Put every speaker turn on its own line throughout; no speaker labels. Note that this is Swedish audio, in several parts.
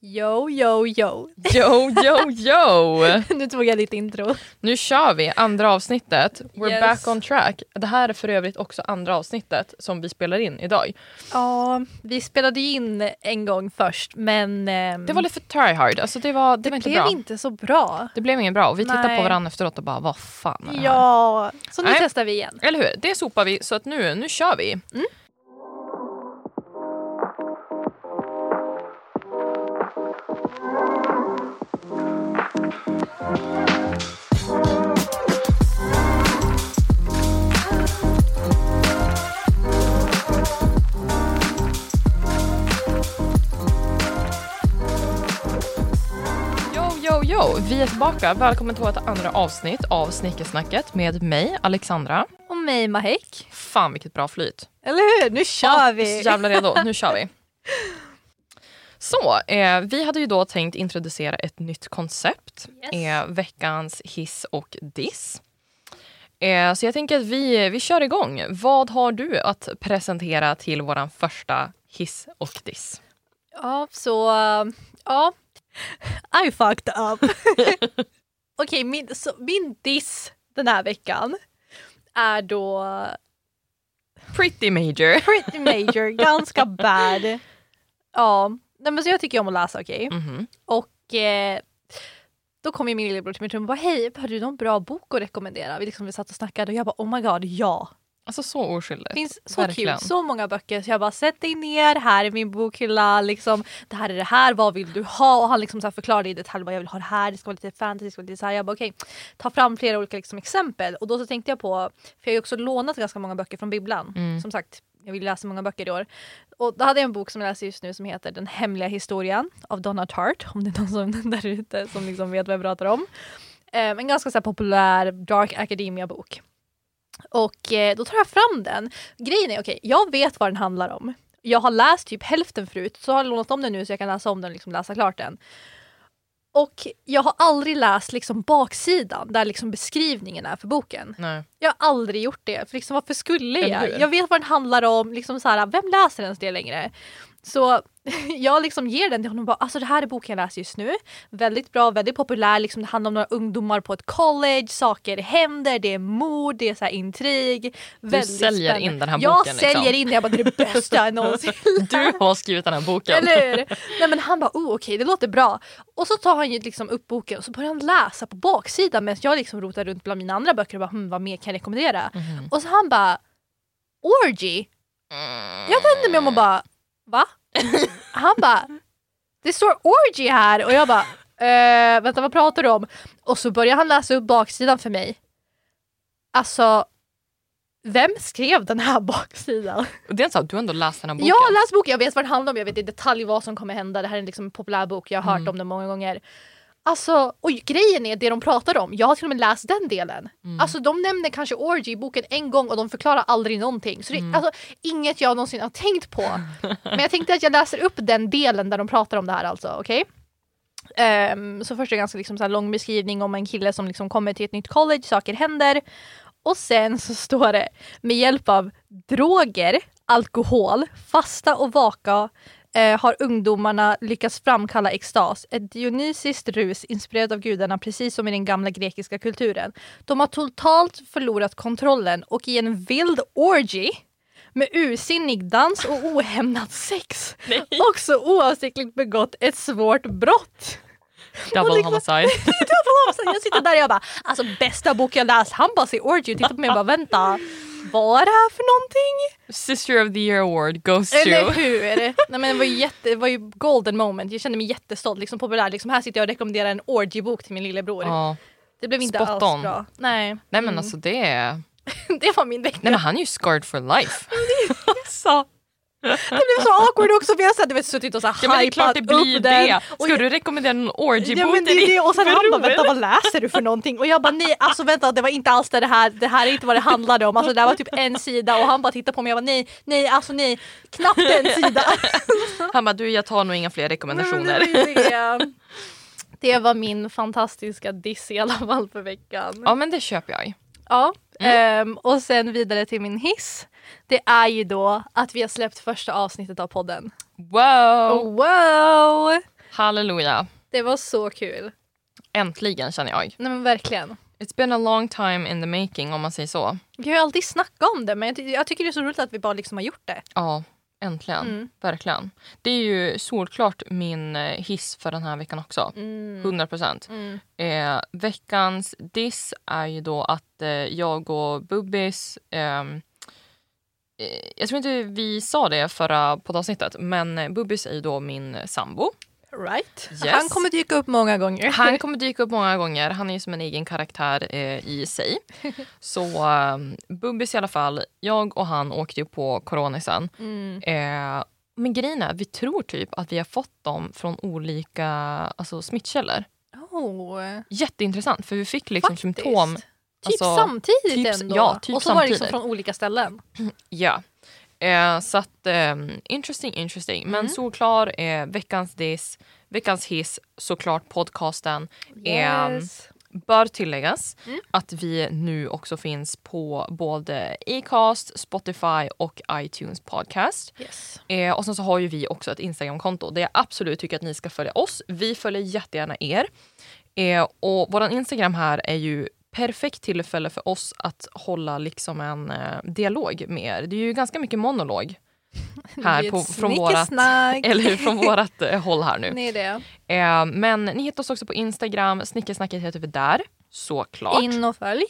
Yo, yo, yo.
Yo, yo, yo!
Nu tog jag ditt intro.
Nu kör vi andra avsnittet. We're
Yes.
back on track. Det här är för övrigt också andra avsnittet som vi spelar in idag.
Ja, vi spelade ju in en gång först men ehm,
Det var lite för try hard. Alltså det, var, det,
det
var inte
blev
bra.
inte så bra.
Det blev inget bra. Och vi tittade
Nej.
på varandra efteråt och bara vad fan är det här?
Ja, så nu
Nej.
testar vi igen.
Eller hur? Det sopar vi så att nu, nu kör vi. Yo, yo, yo! Vi är tillbaka. Välkommen till vårt andra avsnitt av Snickersnacket med mig, Alexandra.
Och mig Mahek.
Fan vilket bra flyt.
Eller hur? Nu kör
Ja, jag är
vi!
Så jävla redo, nu kör vi. Så, eh, vi hade ju då tänkt introducera ett nytt koncept.
Yes.
Eh, veckans hiss och diss. Eh, så jag tänker att vi, vi kör igång. Vad har du att presentera till vår första hiss och diss?
Ja, så... ehm, Ja. I fucked up. Okej, min, så, min diss den här veckan är då
Pretty major.
pretty major, ganska bad. Ja, Nej, men så jag tycker om att läsa, okej?
Mhm.
Och eh, då kom ju min lillebror till mitt rum och bara hej, har du någon bra bok att rekommendera? Vi, liksom, vi satt och snackade och jag bara oh my god, ja.
Alltså så oskyldigt.
Det finns så
Verkligen.
kul, så många böcker. Så jag bara sätt dig ner, här är min bokhylla, liksom, det här är det här, vad vill du ha? Och han liksom så här förklarade i detalj vad jag vill ha det här, det ska vara lite fantasy, det ska vara lite så här. Jag bara okej, ta fram flera olika liksom, exempel. Och då så tänkte jag på, för jag har ju också lånat ganska många böcker från bibblan.
Mm.
Som sagt, jag vill läsa många böcker i år. Och då hade jag en bok som jag läser just nu som heter Den hemliga historien av Donna Tartt. Om det är någon som där ute som liksom vet vad jag pratar om. Ehm, en ganska så här populär dark academia-bok. Och eh, då tar jag fram den. Grejen är, okej, jag vet vad den handlar om. Jag har läst typ hälften förut, så har jag lånat om den nu så jag kan läsa om den och liksom läsa klart den. Och jag har aldrig läst liksom baksidan där liksom beskrivningen är för boken.
Nej.
Jag har aldrig gjort det. För liksom, varför skulle
Eller
jag?
hur?
Jag vet vad den handlar om. Liksom så här, vem läser ens det längre? Så jag liksom ger den till honom och bara, alltså det här är boken jag läser just nu. Väldigt bra, väldigt populär. Liksom, det handlar om några ungdomar på ett college, saker händer, det är mord, det är så här intrig.
Du
Väldigt
säljer
spännande.
in den här
Jag
boken.
säljer
liksom.
in den, jag bara det är det bästa jag någonsin
Du har skrivit den här boken.
eller hur? Nej men han bara oh, okej det låter bra. Och så tar han ju liksom upp boken och så börjar han läsa på baksidan medan jag liksom rotar runt bland mina andra böcker och bara hm, vad mer kan jag rekommendera?
Mhm.
Och så han bara orgy. Jag vände mig om och bara va? Han bara det står orgy här och jag bara eh, vänta vad pratar du om? Och så börjar han läsa upp baksidan för mig. Alltså vem skrev den här baksidan?
Och Mm. Det är så att du har ändå läst den här boken.
Jag har läst boken, jag vet vad den handlar om, jag vet i detalj vad som kommer hända. Det här är liksom en populär bok, jag har hört
Mm.
om den många gånger. Alltså, och grejen är det de pratar om, jag har till och med läst den delen.
Mm.
Alltså de nämner kanske orgy i boken en gång och de förklarar aldrig någonting. Så det är
Mm.
alltså, inget jag någonsin har tänkt på. Men jag tänkte att jag läser upp den delen där de pratar om det här alltså, okej? Ehm, så först är det ganska liksom så här lång beskrivning om en kille som liksom kommer till ett nytt college, saker händer. Och sen så står det med hjälp av droger, alkohol, fasta och vaka eh, har ungdomarna lyckats framkalla extas, ett dionysiskt rus inspirerat av gudarna precis som i den gamla grekiska kulturen. De har totalt förlorat kontrollen och i en vild orgy med ursinnig dans och ohämnat sex också oavsiktligt begått ett svårt brott.
Double
Och liksom-
homicide.
Så jag sitter där och jag bara, alltså bästa bok jag läst, han bara ser orgy och tittar på mig och bara vänta, vad är det här för någonting?
Sister of the year award goes
Eller
to...
hur? Nej men det var ju, jätte, det var ju golden moment, jag kände mig jättestolt, liksom populär, liksom här sitter jag och rekommenderar en orgy-bok till min lillebror.
Ja.
Det blev inte
spot
alls
on.
bra. Nej,
Nej men alltså det är... Nej
det var min vecka.
men han är ju scarred for life.
Alltså. Det blev så awkward också för jag hade väl suttit och så här
Ja men det är
hypat
klart det blir ju
upp den.
det.
Och
Ska du rekommendera någon orgy-bok
Ja, men det,
till
är
din
det. Och sen han bara
bror?
vänta vad läser du för någonting? Och jag bara nej alltså vänta det var inte alls det här, det här är inte vad det handlade om. Alltså det här var typ en sida och han bara tittade på mig och jag bara nej, nej alltså nej, knappt en sida.
Han bara du jag tar nog inga fler
Nej,
rekommendationer.
men det var ju det. Det var min fantastiska diss i alla fall för veckan.
Ja men det köper jag.
Ja. ehm, och sen vidare till min hiss. Det är
Oh.
Oh. ju då att vi har släppt första avsnittet av podden.
Wow!
wow!
Halleluja.
Det var så kul.
Äntligen känner jag.
Nej men verkligen.
It's been a long time in the making om man säger så.
Vi har ju alltid snackat om det men jag, ty- jag tycker det är så roligt att vi bara liksom har gjort det.
Ja, äntligen.
Mm.
Verkligen. Det är ju solklart min eh, hiss för den här veckan också. 100 procent.
Mm.
Eh, veckans diss är ju då att eh, jag och Bubbis... ehm, eh, jag tror inte vi sa det förra poddavsnittet, men eh, Bubbis är ju då min sambo.
Right.
Yes.
Han kommer dyka upp många gånger.
Han kommer dyka upp många gånger. Han är ju som en egen karaktär eh, i sig. Så eh, Bubbis i alla fall. Jag och han åkte ju på coronisen.
Mm.
Eh, men grejen är, vi tror typ att vi har fått dem från olika alltså, smittkällor.
Oh.
Jätteintressant, för vi fick liksom
Faktiskt.
symptom.
Typ
Alltså,
samtidigt
typ-
ändå.
ja, typ
och så var det liksom
samtidigt.
från olika ställen.
Ja. Eh, så att, eh, interesting, interesting. Men solklar, eh, veckans diss, veckans hiss, såklart podcasten. Ehm,
Yes.
bör tilläggas
Mm.
att vi nu också finns på både Acast, Spotify och iTunes podcast.
yes.
Eh, och sen så har ju vi också ett Instagramkonto där jag absolut tycker att ni ska följa oss. Vi följer jättegärna er. Eh, och våran Instagram här är ju perfekt tillfälle för oss att hålla liksom en eh, dialog med er. Det är ju ganska mycket monolog här på, från vårat,
Snickesnack.
eller hur, från vårat eh, håll här nu.
Nej, det. är-
Eh, men ni hittar oss också på Instagram. Snickesnacket heter vi där. Såklart.
In och följ.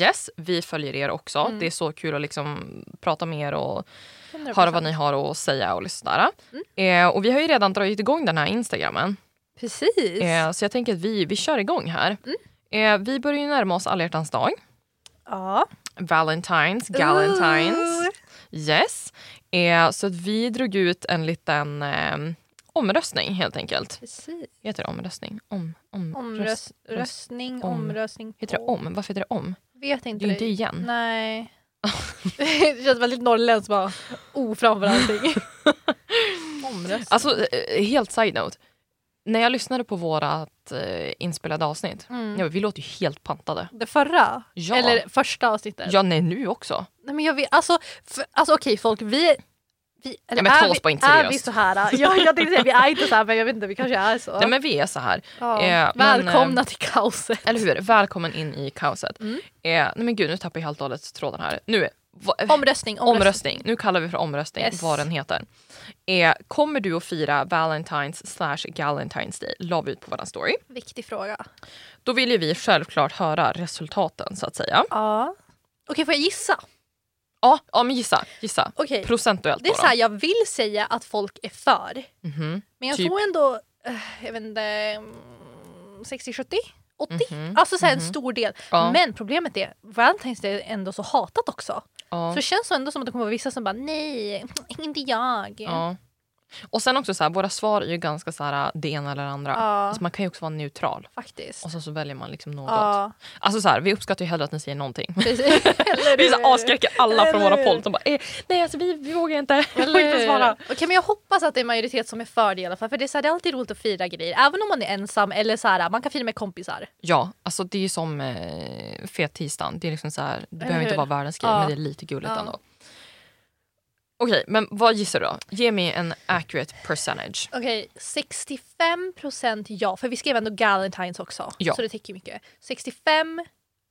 Yes, vi följer er också.
Mm.
Det är så kul att liksom prata med er och höra vad ni har att säga och lyssna.
Mm.
Eh, och vi har ju redan dragit igång den här Instagrammen.
Precis.
Eh, så jag tänker att vi, vi kör igång här.
Mm.
Eh, vi börjar ju närma oss alla hjärtans dag.
Ja.
Valentines, Galentines.
Ooh.
Yes. Eh, så att vi drog ut en liten eh, omröstning helt enkelt.
Precis.
Heter det omröstning? Om, om, röst-
Omröst, röstning,
om-
omröstning. På.
Heter det om? Varför heter det om?
Vet
Det
inte.
är ju inte
det.
igen.
Nej. det känns väldigt norrländskt bara. O framför allting. Omröstning.
Alltså, eh, helt side-note. När jag lyssnade på vårat eh, inspelade avsnitt,
Mm.
ja, vi låter ju helt pantade.
Det förra?
Ja.
Eller första avsnittet?
Ja, nej, nu också.
Nej, men jag vet, alltså, för, alltså okej folk, vi... vi eller
men ta
är,
oss bara
vi,
inte
är
seriöst.
vi så här? Ja, jag tänkte säga vi är inte så här men jag vet inte, vi kanske är så.
Nej, men vi är så här.
ja.
eh, men,
Välkomna till kaoset.
Eller hur? Välkommen in i kaoset.
Mm.
Eh, nej, men gud, nu tappar jag helt och hållet tråden här. Nu, va,
Omröstning,
eh,
omröstning.
omröstning. Nu kallar vi för omröstning,
Yes.
vad den heter. Eh, kommer du att fira Valentine's slash Galentine's Day? La vi ut på våran story.
Viktig fråga.
Då vill ju vi självklart höra resultaten, så att säga.
Ja. Okej, får jag gissa?
Ja, ja men gissa. gissa.
Okej.
Procentuellt
Det är
då.
så här, jag vill säga att folk är för.
då. Mhm.
Men jag
Typ.
tror ändå, eh, jag vet inte, mm, 60-70? 80?
Mhm,
Alltså så här, en stor del.
Ja.
Men problemet är, Valentine's Day är ändå så hatat också.
Ja.
Så det känns ändå som att det kommer vara vissa som bara nej, inte jag.
Ja. Och sen också så här, våra svar är ju ganska så här, det ena eller det andra.
Ja.
Alltså man kan ju också vara neutral
Faktiskt.
och sen så väljer man liksom något.
Ja,
Alltså så här, vi uppskattar ju hellre att ni säger någonting.
precis. Eller
Vi så
hur?
här avskräcker alla från våra
Eller hur?
poll. De bara, eh, nej alltså vi, vi vågar inte. Vi får
Eller
inte
hur?
svara.
Okej men jag hoppas att det är en majoritet som är för det i alla fall för det är, så här, det är alltid roligt att fira grejer även om man är ensam eller så här, man kan fira med kompisar.
Ja, alltså det är ju som eh, fet tisdagen. Det, är liksom så här, det behöver inte
hur?
vara världens grej
Ja.
men det är lite gulligt
Ja.
ändå. Okej, men vad gissar du då? Ge mig en accurate percentage.
Okej 65% ja för vi skrev ändå Galentines också
Ja.
så det täcker ju mycket. 65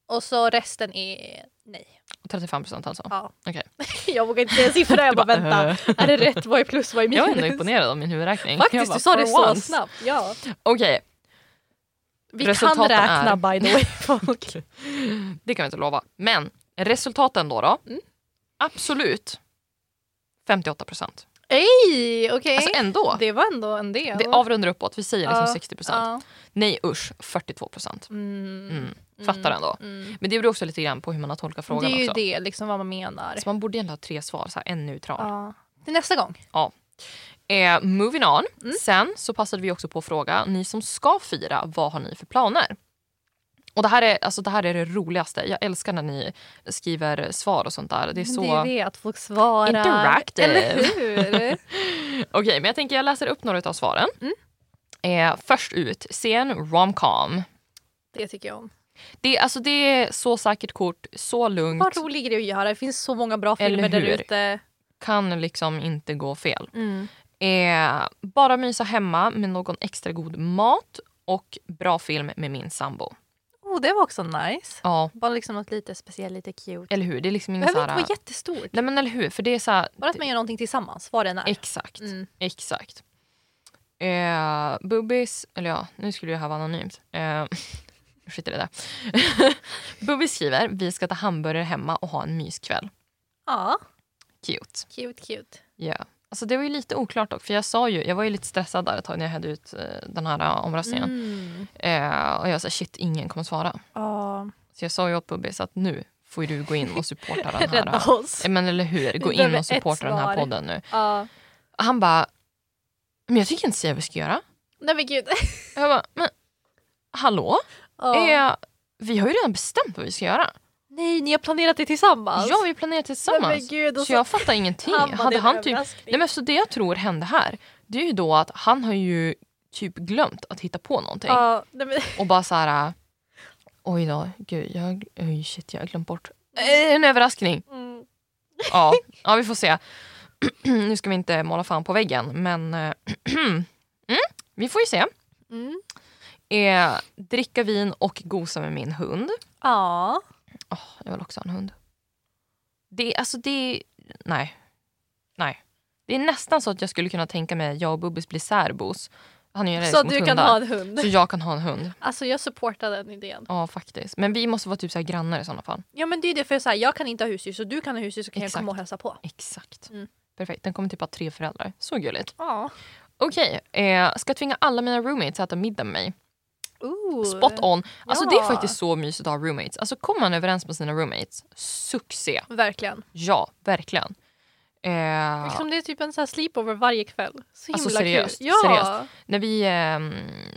och så resten är nej.
35 procent alltså.
Ja.
Okej.
Jag vågar inte säga siffror jag bara
bara, "Äh."
vänta. Är det rätt? Vad är plus? Vad är minus?
Jag är ändå imponerad av min huvudräkning. Jag
Faktiskt
bara,
du sa det
for
så
once.
snabbt. Ja.
Okej,
Vi
Resultaten
kan räkna
är-
by the way folk.
det kan vi inte lova. Men resultaten då? då
Mm.
Absolut 58 procent.
Ej, okej.
Alltså ändå. Det,
Det var ändå en del.
avrundar uppåt. Vi säger liksom
Ja,
60 procent. Nej usch, 42 procent.
Mm,
Mm. Fattar ändå.
mm.
Men det beror också lite grann på hur man har tolkat
Det
frågan
är ju
också.
det, liksom vad man menar.
Så man borde egentligen ha tre svar, så här, en neutral.
Ja. Till nästa gång.
Eh, moving on.
Mm.
Sen så passade vi också på att fråga ni som ska fira, vad har ni för planer? Och det här är, alltså, det, här är det roligaste. Jag älskar när ni skriver svar och sånt där. Det är så...
Mm, Det är det, att folk svarar.
Interactive.
Eller hur?
Okej, men jag tänker jag läser upp några av svaren.
Mm.
Eh, först ut, se en romcom.
det tycker jag om.
Det, alltså, det är så säkert kort, så
Vad
lugnt,
rolig grej att göra. Det finns så många bra
Eller
filmer där
hur?
ute.
kan liksom inte gå fel.
Mm.
Eh, bara mysa hemma med någon extra god mat och bra film med min sambo.
Oh, det var också nice.
Ja,
Bara liksom något lite speciellt, lite cute.
eller hur? Det är liksom ingen
Behöver
såhär...
inte vara jättestort.
Nej men eller hur? För det är såhär...
Bara att man gör någonting tillsammans, vad det än är.
Exakt.
Mm.
Exakt. Eh, Bubbis, eller ja, nu skulle det här vara anonymt. Eh, skit i det där. Bubbis skriver, vi ska ta hamburgare hemma och ha en myskväll.
Ja,
Cute.
cute cute.
Ja. Alltså det var ju lite oklart dock, för jag sa ju, jag var ju lite stressad där ett tag när jag hade ut eh, den här eh, omröstningen.
Mm.
Eh, och jag sa shit, ingen kommer svara.
Ja,
Så jag sa ju åt Bubbis att nu får ju du gå in och supporta den här.
rädda
eh,
oss.
eh, men eller hur, gå in
behöver
och supporta
ett
den här
svar.
podden nu.
Ja.
Och han bara, men jag tycker inte säga vad vi ska göra.
Nej men gud.
Jag bara, men hallå?
Ja.
Eh, vi har ju redan bestämt vad vi ska göra.
Nej, ni har planerat det tillsammans?
Ja, vi planerar
Nej, Alltså, men
tillsammans.
gud, och
Så jag fattar ingenting.
Han bara, det
Hade
är
han
en
typ...
överraskning.
Nej, men så det jag tror hände här, det är ju då att han har ju typ glömt att hitta på någonting.
Ja, nej, men,
Och bara så här... äh, Oj då, gud, jag, oj, shit, jag har glömt bort. Eh, En överraskning.
mm,
Ja, ja vi får se. nu ska vi inte måla fan på väggen, men eh, mm, vi får ju se.
mm.
Eh, dricka vin och gosa med min hund.
Ja.
Åh, jag vill också ha en hund. Det, alltså det, nej. Nej. Det är nästan så att jag skulle kunna tänka mig att jag och Bubbis blir särbos. Han är ju allergisk
Så
mot
du kan
hundar.
ha en hund.
Så jag kan ha en hund.
Alltså jag supportar den idén.
Ja, faktiskt. Men vi måste vara typ så här grannar i sådana fall.
Ja men det är det för så här, jag kan inte ha husdjur så du kan ha husdjur så kan
Exakt.
jag komma och hälsa på.
Exakt.
Mm.
Perfekt. Den kommer typ ha tre föräldrar. Så gulligt.
Ja.
Okej, eh, ska tvinga alla mina roommates att äta middag med mig.
Ooh.
Spot on. Alltså
Ja.
det är faktiskt så mysigt att ha roommates. Alltså kommer man överens med sina roommates, succé.
Verkligen.
Ja, verkligen. Eh,
Liksom det är typ en så här sleepover varje kväll. Så himla
Alltså, seriöst,
kul. Ja.
seriöst. När vi, ehm,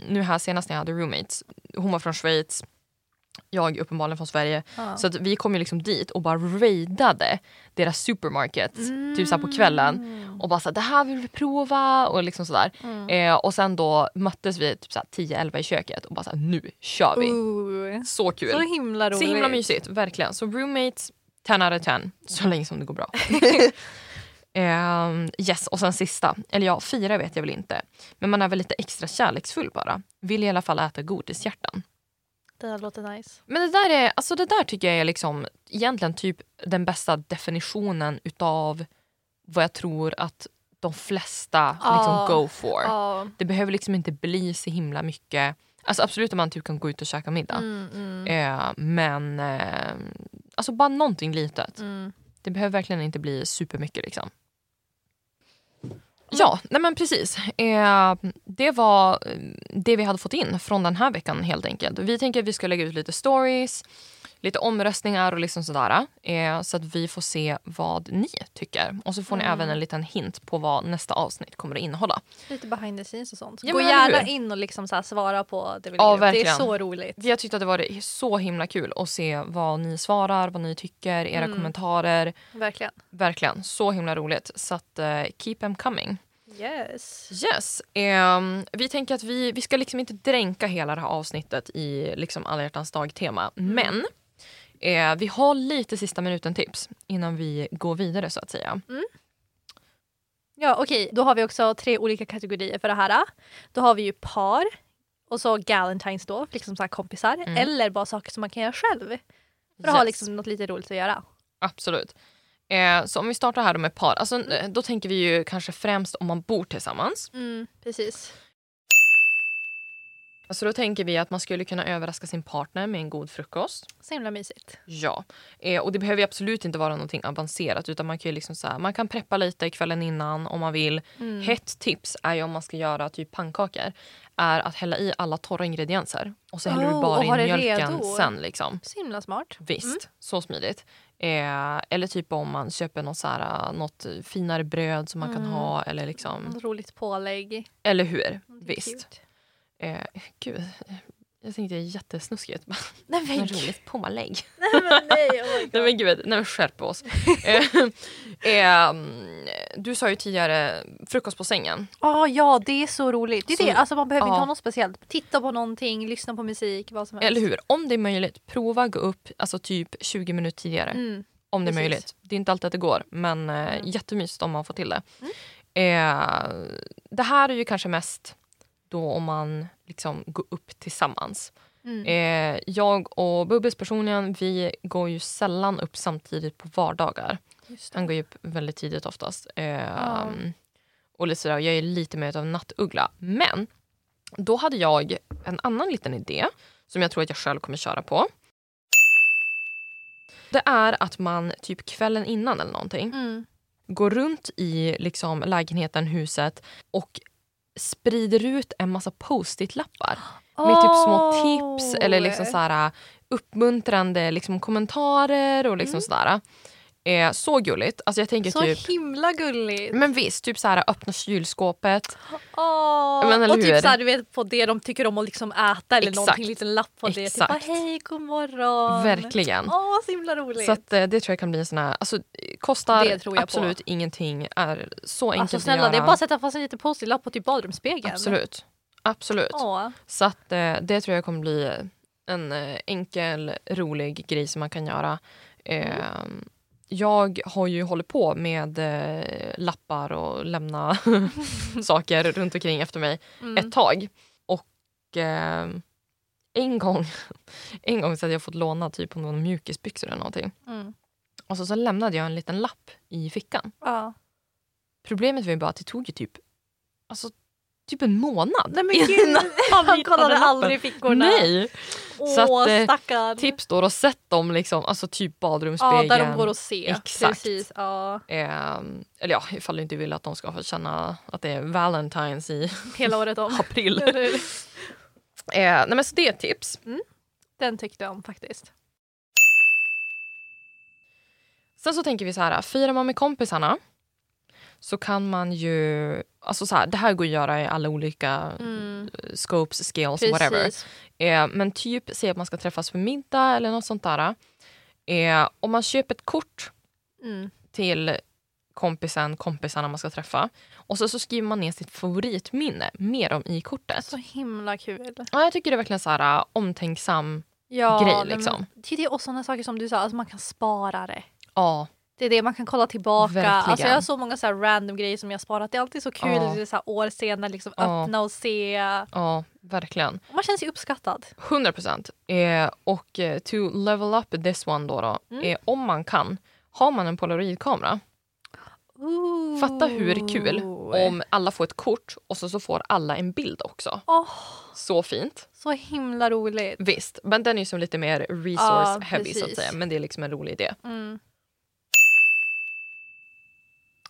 nu här senast när jag hade roommates, hon var från Schweiz, jag uppenbarligen från Sverige.
Ja.
Så att vi kom ju liksom dit och bara raidade deras supermarket typ så här på kvällen.
Mm.
Och bara såhär, det här vill vi prova och liksom sådär.
Mm.
Eh, och sen då möttes vi typ såhär 10-11 i köket och bara såhär, nu kör vi.
Ooh.
Så kul.
Så himla roligt.
Så himla mysigt, verkligen. Så roommates, 10 out of 10. Så länge som det går bra. Ehm, yes, och sen sista. Eller ja, fyra vet jag väl inte. Men man är väl lite extra kärleksfull bara. Vill i alla fall äta godishjärtan.
Det här låter nice.
Men det där, är, alltså det där tycker jag är liksom egentligen typ den bästa definitionen utav vad jag tror att de flesta
Ja.
liksom go for.
Ja.
Det behöver liksom inte bli så himla mycket. Alltså absolut att man typ kan gå ut och käka middag.
Mm, mm,
Eh, men eh, alltså bara någonting litet.
mm.
Det behöver verkligen inte bli supermycket. Liksom.
Mm.
Ja, nej men precis. Eh, det var eh, det vi hade fått in från den här veckan. helt enkelt. Vi tänker att vi ska lägga ut lite stories, lite omröstningar och liksom sådär. Eh, så att vi får se vad ni tycker. Och så får ni
Mm.
även en liten hint på vad nästa avsnitt kommer att innehålla.
Lite behind the scenes och sånt.
Ja,
Gå
men eller
gärna
hur?
in och liksom så här svara på det vi
Ja,
lägger upp. Det
verkligen.
är så roligt.
Jag tyckte att det var så himla kul att se vad ni svarar, vad ni tycker, era
Mm.
kommentarer.
Verkligen.
Verkligen, så himla roligt. Så att, eh, keep them coming.
Yes.
Yes. ehm, vi tänker att vi, vi ska liksom inte dränka hela det här avsnittet i liksom alla hjärtans dag-tema.
Mm.
Men eh, vi har lite sista minuten-tips innan vi går vidare så att
Mm.
säga.
Ja, okej. Då har vi också tre olika kategorier för det här. Då har vi ju par och så galentines då, liksom så här kompisar. Eller bara saker som man kan göra själv. För att ha
Mm. Yes.
liksom något lite roligt att göra.
Absolut. Eh, så om vi startar här då med par. Alltså, eh, Då tänker vi ju kanske främst om man bor tillsammans.
precis.
Alltså, då tänker vi att man skulle kunna överraska sin partner med en god frukost.
Så himla mysigt.
Ja, eh, och det behöver ju absolut inte vara någonting avancerat utan man kan ju liksom så här, man kan preppa lite kvällen innan om man vill.
Mm.
Hett tips är ju om man ska göra typ pannkakor är att hälla i alla torra ingredienser och så häller du
Oh,
bara
och
in
ha det
mjölken
redo. Mm.
sen liksom.
Så himla smart.
Visst, så smidigt. Eh, eller typ om man köper något, så här, något finare bröd som man kan ha eller liksom,
Något roligt pålägg.
eller hur?
Mm. Det är
Visst.
cute.
Eh, gud, jag tänkte det är jättesnuskigt.
Nej men,
Men roligt pålägg.
nej, men nej, oh my God.
Nej men gud, nej men skärp oss. Eh, eh, du sa ju tidigare frukost på sängen.
Ja, Ah, ja, det är så roligt. Det är
Så-
det. Alltså, man behöver
ja.
inte ha något speciellt. Titta på någonting, lyssna på musik, vad som helst.
Eller hur? Om det är möjligt, prova gå upp alltså typ 20 minuter tidigare.
Mm.
om det är
precis.
möjligt. Det är inte alltid att det går, men eh,
Mm.
jättemysigt om man får till det. Eh, det här är ju kanske mest då om man liksom går upp tillsammans.
Mm.
Eh, jag och Bubbis personligen, vi går ju sällan upp samtidigt på vardagar.
Just det.
Han går ju upp väldigt tidigt oftast. Eh,
Ja.
Och lite sådär, jag är lite mer av en nattuggla. Men då hade jag en annan liten idé som jag tror att jag själv kommer köra på. Det är att man typ kvällen innan eller någonting
Mm.
går runt i liksom lägenheten, huset och sprider ut en massa post-it-lappar med typ små tips eller liksom
Åh.
så här, uppmuntrande liksom, kommentarer och liksom sådär. Eh, så gulligt. Alltså jag tänker
Mm. Så
typ,
himla gulligt.
men visst, typ så här, öppna kylskåpet.
Åh,
Men eller
och typ
hur?
såhär, du vet, på det de tycker om att liksom äta eller
Exakt.
någonting, liten lapp på det. Typ, bara,
Exakt.
hej, god morgon.
Verkligen.
Åh, så himla roligt.
Så att, eh, det tror jag kan bli en sån här, alltså, eh, kostar
Det tror jag
absolut ingenting, är så enkelt
alltså snälla,
att
det är
göra.
bara att sätta fast en liten post-it lapp på typ badrumsspegeln.
Absolut. Absolut.
Åh.
Så att, eh, det tror jag kommer bli en eh, enkel, rolig grej som man kan göra. Eh, Jag har ju hållit på med eh, lappar och lämna saker runt omkring efter mig
Mm.
ett tag. Och eh, en gång en gång så hade jag fått låna typ någon mjukisbyxor eller någonting.
Mm.
Och så, så lämnade jag en liten lapp i fickan.
Ja.
Problemet var ju bara att det tog ju typ, alltså, typ en månad.
Nej men gud, han kollade
lappen.
aldrig i fickorna.
Nej!
Åh,
Så att, eh,
stackarn.
Tips då, och sätt dem liksom, alltså typ
ja,
badrumsspegeln.
där de går att se.
Exakt.
Precis, ja.
Ehm, eller ja, ifall du inte vill att de ska få känna att det är Valentine's i
Hela året om.
april.
Eller hur?
Eh, nej men så det är ett tips.
Den tyckte jag om faktiskt.
Sen så tänker vi så här, firar man med kompisarna så kan man ju, alltså så här, det här går att göra i alla olika
Mm.
scopes, scales, alltså, whatever.
Precis.
Eh, men typ säg att man ska träffas för middag eller något sånt där. Eh, om man köper ett kort
Mm.
till kompisen, kompisarna man ska träffa och så, så skriver man ner sitt favoritminne med dem i kortet.
Så himla kul.
Ja, jag tycker det är verkligen så här, äh, omtänksam.
Ja,
grej,
nej, men
liksom.
Det är det och sådana saker som du sa, alltså man kan spara det.
Ja,
Det är det man kan kolla tillbaka.
Verkligen.
Alltså jag har så många så här random grejer som jag sparat. Det är alltid så kul
Ja.
att det är så här år senare liksom
Ja.
öppna och se.
ja verkligen.
Och Man känner sig uppskattad.
100 procent. Eh, och eh, to level up this one då, då
Mm.
eh, om man kan, har man en polaroidkamera,
Ooh.
fatta hur kul om alla får ett kort och så, så får alla en bild också.
Åh,
Så fint.
så himla roligt.
Visst, men den är ju som lite mer resource heavy så att
precis.
säga. Men det är liksom en rolig idé.
Mm.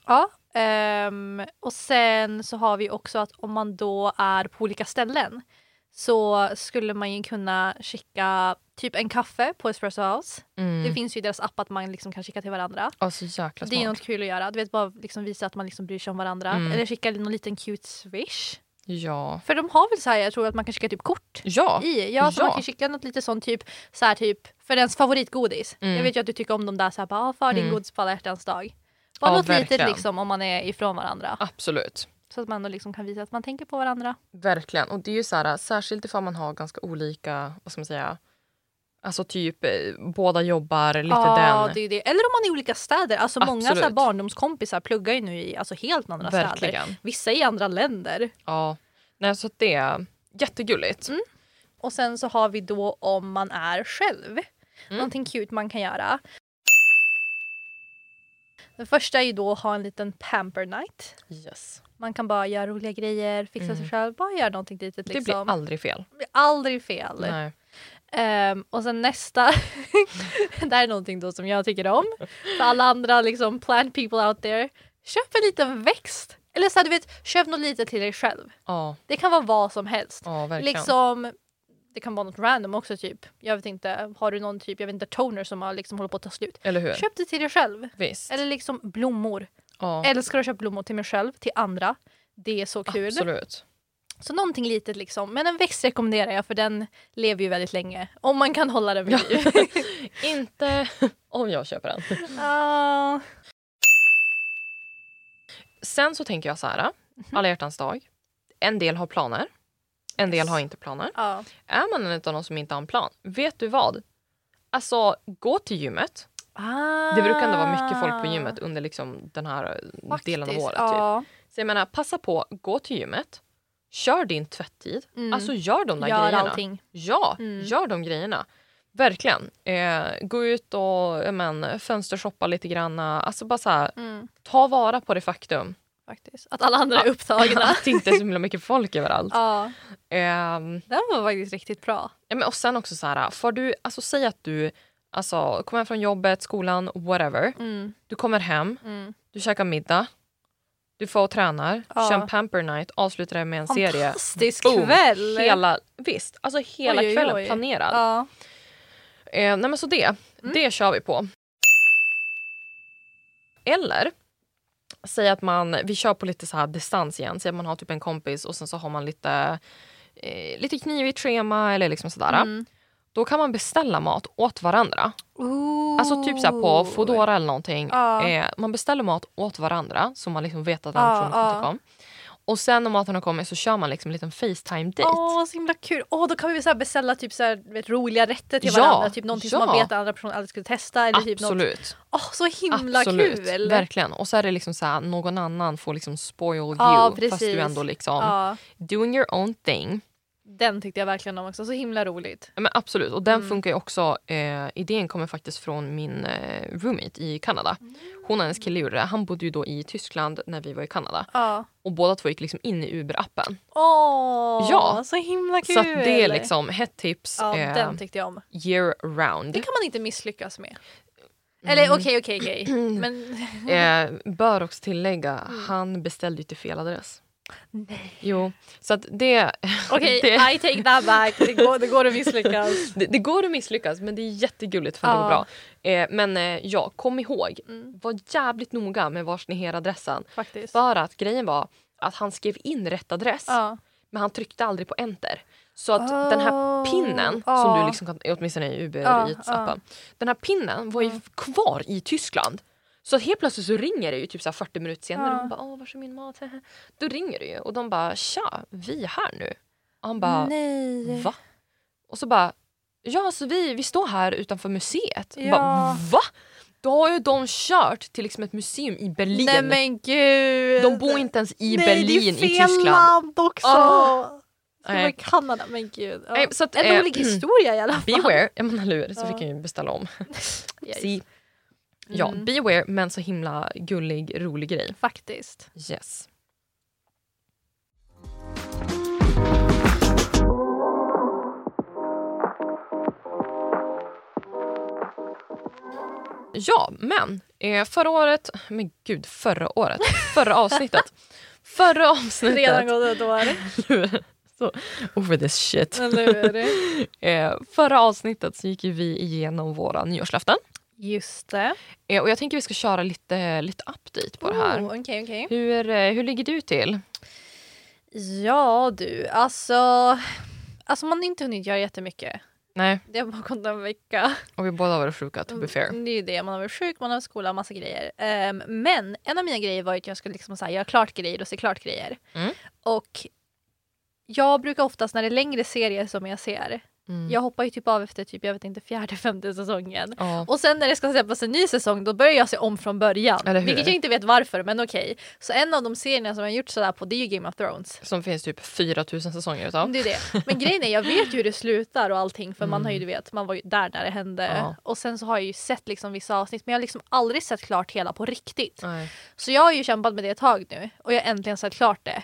Ja, ehm, och sen så har vi också att om man då är på olika ställen så skulle man ju kunna skicka typ en kaffe på Espresso House.
Mm.
Det finns ju i deras app att man liksom kan skicka till varandra.
Ja, så jäkla
Det är
smart.
något kul att göra. Du vet, bara liksom visa att man liksom bryr sig om varandra.
Mm.
Eller skicka någon liten cute swish.
Ja.
För de har väl så här, jag tror att man kan skicka typ kort
Ja.
i. Ja, så
Ja.
man kan skicka något lite sånt typ, så här, typ för ens favoritgodis.
Mm.
Jag vet ju att du tycker om de där så här, bara, ah, för din
Mm.
godis på alla hjärtans dag. Bara
Ja,
något litet
verkligen.
liksom om man är ifrån varandra.
Absolut.
Så att man då liksom kan visa att man tänker på varandra.
Verkligen. Och det är ju så här, särskilt ifall man har ganska olika, vad ska man säga, alltså typ eh, båda jobbar, lite
ja,
den.
det är det. Eller om man är i olika städer. Alltså många så här,
Absolut.
barndomskompisar pluggar ju nu i alltså, helt andra städer.
Verkligen.
Vissa i andra länder.
Ja. Nej, så att det är jättegulligt.
Mm. Och sen så har vi då om man är själv.
Mm.
Någonting cute man kan göra. Den första är ju då att ha en liten pamper night.
Yes.
Man kan bara göra roliga grejer, fixa sig själv, bara göra någonting litet.
Mm. Det
Liksom.
blir aldrig fel.
Det blir aldrig fel.
Nej.
Ehm, och sen nästa, det här är någonting då som jag tycker om. För alla andra liksom plant people out there. Köp en liten växt. Eller så här, du vet, köp något litet till dig själv.
Ja,
Det kan vara vad som helst.
ja verkligen.
Liksom, det kan vara något random också typ. Jag vet inte, har du någon typ, jag vet inte, toner som har liksom håller på att ta slut.
Eller hur?
Köp det till dig själv.
Visst.
Eller liksom blommor.
ja,
Älskar att köpa blommor till mig själv, till andra. Det är så kul.
absolut.
Så någonting litet liksom. Men en växt rekommenderar jag för den lever ju väldigt länge. Om man kan hålla den vid liv.
Inte om jag köper den.
Ja.
Sen så tänker jag så här, alla hjärtans dag. En del har planer, en del
Yes.
har inte planer.
Ja.
Är man en av de som inte har en plan, vet du vad? Alltså, gå till gymmet. Ah. Det brukar ändå vara mycket folk på gymmet under liksom den här delen av
Ah. Faktiskt,
året. Typ.
Ja.
Så jag menar, passa på, gå till gymmet, kör din tvätttid,
Mm.
alltså gör de där
Gör
grejerna.
allting.
Ja,
Mm.
gör de grejerna. Verkligen. Eh, gå ut och ja, men, fönstershoppa lite grann. Alltså bara så här,
Mm,
ta vara på det faktum
faktiskt. Att alla andra är upptagna.
att det inte är så himla mycket folk överallt.
ja,
Ehm,
den var faktiskt riktigt bra.
Ja, men och sen också så här, får du, alltså säg att du alltså, kommer hem från jobbet, skolan, whatever.
Mm,
Du kommer hem,
mm.
du käkar middag, du får och tränar,
Ja.
kör en pamper night, avslutar det med en serie.
Fantastisk
Boom.
kväll!
Hela, visst, alltså hela
Oj, oj,
kvällen
oj.
planerad.
ja. Mm.
Eh, nej men så det, det kör vi på. Eller, säg att man, vi kör på lite så här distans igen. Säg att man har typ en kompis och sen så har man lite, eh, lite knivigt schema eller liksom sådär.
Mm.
Då kan man beställa mat åt varandra. Alltså typ så här på Foodora eller någonting.
Ja.
Eh, man beställer mat åt varandra så man liksom vet att den
Ja,
personen inte
ja.
kom. Och sen när maten har kommit så kör man liksom en liten Facetime-dejt.
Åh, så himla kul. Åh, då kan vi så här beställa typ så här, du vet, roliga rätter till
Ja,
varandra. typ någonting
ja.
som man vet att andra personer aldrig skulle testa. Eller typ något.
Absolut.
Åh, så himla
Absolut,
kul!
verkligen. Och så är det liksom så här, någon annan får liksom spoil
Ja,
you fast
precis.
du ändå liksom
Ja,
doing your own thing.
den tyckte jag verkligen om också. Så himla roligt.
Ja, Men absolut, och den
Mm.
funkar ju också. Eh, idén kommer faktiskt från min eh, roommate i Kanada. Hon och hennes kille gjorde det. Han bodde ju då i Tyskland när vi var i Kanada.
Ja.
Och båda två gick liksom in i Uber-appen.
Åh,
Ja.
så himla kul!
Så att det är liksom hett tips
Ja,
eh,
den tyckte jag om.
year round.
Det kan man inte misslyckas med.
Mm.
Eller okej, okej, okej. Men
Eh, bör också tillägga, han beställde ju till fel adress.
Mm. Nej.
Jo, så att det,
okej,
Det-
I take that back. Det går, det går att misslyckas.
det, det går att misslyckas men det är jättegulligt för att det går
Ja.
bra. Eh, men eh, ja, kom ihåg,
Mm.
var jävligt noga med vars ni ger adressen.
Faktiskt.
För att grejen var att han skrev in rätt adress
Ja.
men han tryckte aldrig på enter. Så att den här
Oh,
pinnen, som
ja. Ah,
du liksom kan, åtminstone i Uber
Ja,
Eats appen, den här pinnen var ju
Mm.
kvar i Tyskland. Så att helt plötsligt så ringer det ju typ så här 40 minuter senare.
Ja.
Och hon bara, Åh, var är min mat? Då ringer det ju och de bara, tja, vi är här nu. Och han bara,
Nej.
va? Och så bara, ja så vi, vi står här utanför museet. Och
Ja.
Bara, va? Då har ju de kört till liksom ett museum i Berlin.
Nej men gud!
de bor inte ens i
Nej,
Berlin
det är
i
fel
Tyskland.
land också!
Ah.
Det
Nej.
var Kanada, men gud. Ja.
Nej, så att,
en
eh,
rolig historia i alla fall.
Beware, ja men eller hur, så
Ja.
fick jag ju beställa om.
Yes.
Si. Ja,
Mm.
beware men så himla gullig, rolig grej.
Faktiskt.
Yes. Ja, men eh, förra året, men gud förra året, förra avsnittet. förra avsnittet.
Redan gått ett år.
så, over this shit.
Eller hur?
Eh, förra avsnittet så gick ju vi igenom våra nyårslöften.
Just det.
Eh, och jag tänker vi ska köra lite, lite update på det här.
Oh, okej, okej.
Hur, eh, hur ligger du till?
Ja du, alltså... Alltså man har inte hunnit göra jättemycket.
Nej,
Det har bara gått en vecka.
och vi båda har varit sjuka to be fair.
Det är ju det, man har varit sjuk, man har varit i skolan, massa grejer. Ehm, men en av mina grejer var ju att jag skulle liksom så här, göra klart grejer och se klart grejer.
Mm.
Och jag brukar oftast när det är längre serier som jag ser,
Mm.
jag hoppar ju typ av efter typ, jag vet inte, fjärde, femte säsongen.
Ja.
Och sen när det ska släppas en ny säsong då börjar jag se om från början.
Eller hur?
Vilket jag inte vet varför men okej. Så en av de serierna som jag har gjort sådär på det är ju Game of Thrones.
Som finns typ 4000 säsonger utav.
Det är det. Men grejen är jag vet ju hur det slutar och allting för man har ju du vet man var ju där när det hände.
Mm. Ja.
Och sen så har jag ju sett liksom vissa avsnitt men jag har liksom aldrig sett klart hela på riktigt.
Nej.
Så jag har ju kämpat med det ett tag nu och jag har äntligen sett klart det.